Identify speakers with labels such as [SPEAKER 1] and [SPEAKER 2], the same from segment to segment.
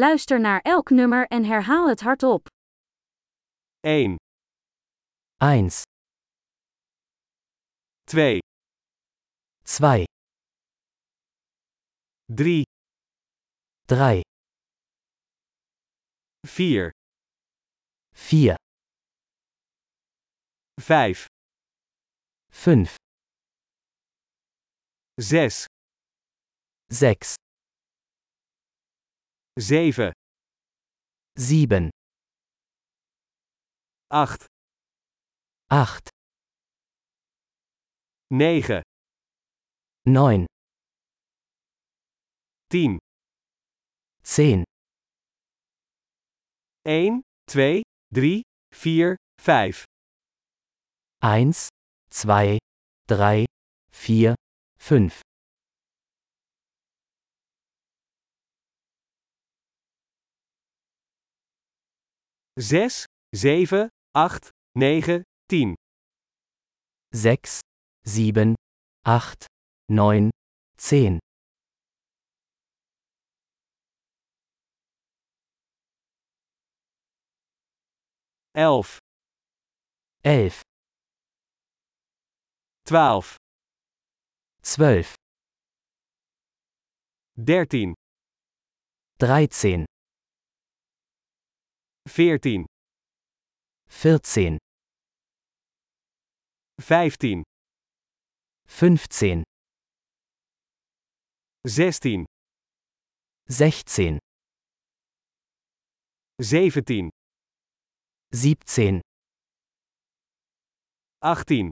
[SPEAKER 1] Luister naar elk nummer en herhaal het hardop.
[SPEAKER 2] 1,
[SPEAKER 3] 1,
[SPEAKER 2] 2,
[SPEAKER 3] 2,
[SPEAKER 2] 3,
[SPEAKER 3] 3,
[SPEAKER 2] 4,
[SPEAKER 3] 4,
[SPEAKER 2] 5,
[SPEAKER 3] 5,
[SPEAKER 2] 6,
[SPEAKER 3] 6,
[SPEAKER 2] 7,
[SPEAKER 3] 7,
[SPEAKER 2] 8,
[SPEAKER 3] 8,
[SPEAKER 2] 9,
[SPEAKER 3] 9,
[SPEAKER 2] 10,
[SPEAKER 3] 10,
[SPEAKER 2] 1, 2, 3, 4, 5,
[SPEAKER 3] 1, 2, 3, 4, 5,
[SPEAKER 2] 6, 7, 8, 9, 10,
[SPEAKER 3] 6, 7, 8, 9, 10,
[SPEAKER 2] 11,
[SPEAKER 3] 11,
[SPEAKER 2] 12,
[SPEAKER 3] 12,
[SPEAKER 2] 13,
[SPEAKER 3] 13,
[SPEAKER 2] 14,
[SPEAKER 3] 14,
[SPEAKER 2] 15,
[SPEAKER 3] 15,
[SPEAKER 2] 16,
[SPEAKER 3] 16,
[SPEAKER 2] 17,
[SPEAKER 3] 17,
[SPEAKER 2] 18,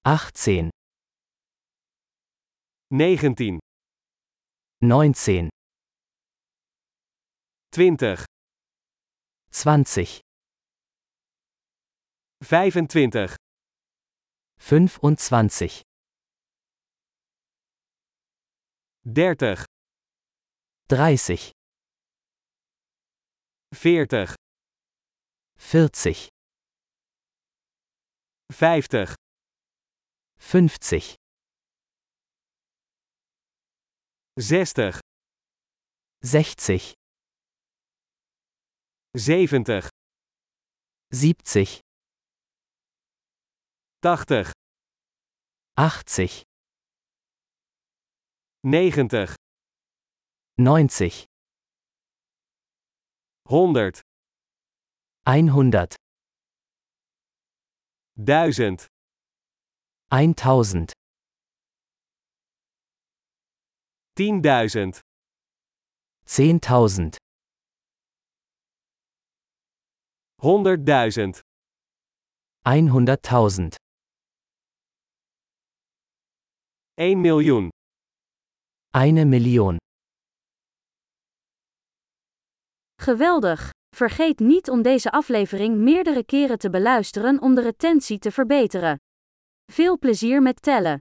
[SPEAKER 3] 18,
[SPEAKER 2] 19,
[SPEAKER 3] 19,
[SPEAKER 2] 20,
[SPEAKER 3] 20,
[SPEAKER 2] 25,
[SPEAKER 3] 25,
[SPEAKER 2] 30,
[SPEAKER 3] 30,
[SPEAKER 2] 40,
[SPEAKER 3] 40,
[SPEAKER 2] 50,
[SPEAKER 3] 50,
[SPEAKER 2] 60,
[SPEAKER 3] 60,
[SPEAKER 2] 70,
[SPEAKER 3] 70,
[SPEAKER 2] 80,
[SPEAKER 3] 80,
[SPEAKER 2] 90,
[SPEAKER 3] 90,
[SPEAKER 2] 100,
[SPEAKER 3] 100,
[SPEAKER 2] 1000,
[SPEAKER 3] 1000,
[SPEAKER 2] 10.000,
[SPEAKER 3] 10.000,
[SPEAKER 2] 100.000,
[SPEAKER 3] 100.000,
[SPEAKER 2] 1 miljoen,
[SPEAKER 3] 1 Million.
[SPEAKER 1] Geweldig! Vergeet niet om deze aflevering meerdere keren te beluisteren om de retentie te verbeteren. Veel plezier met tellen!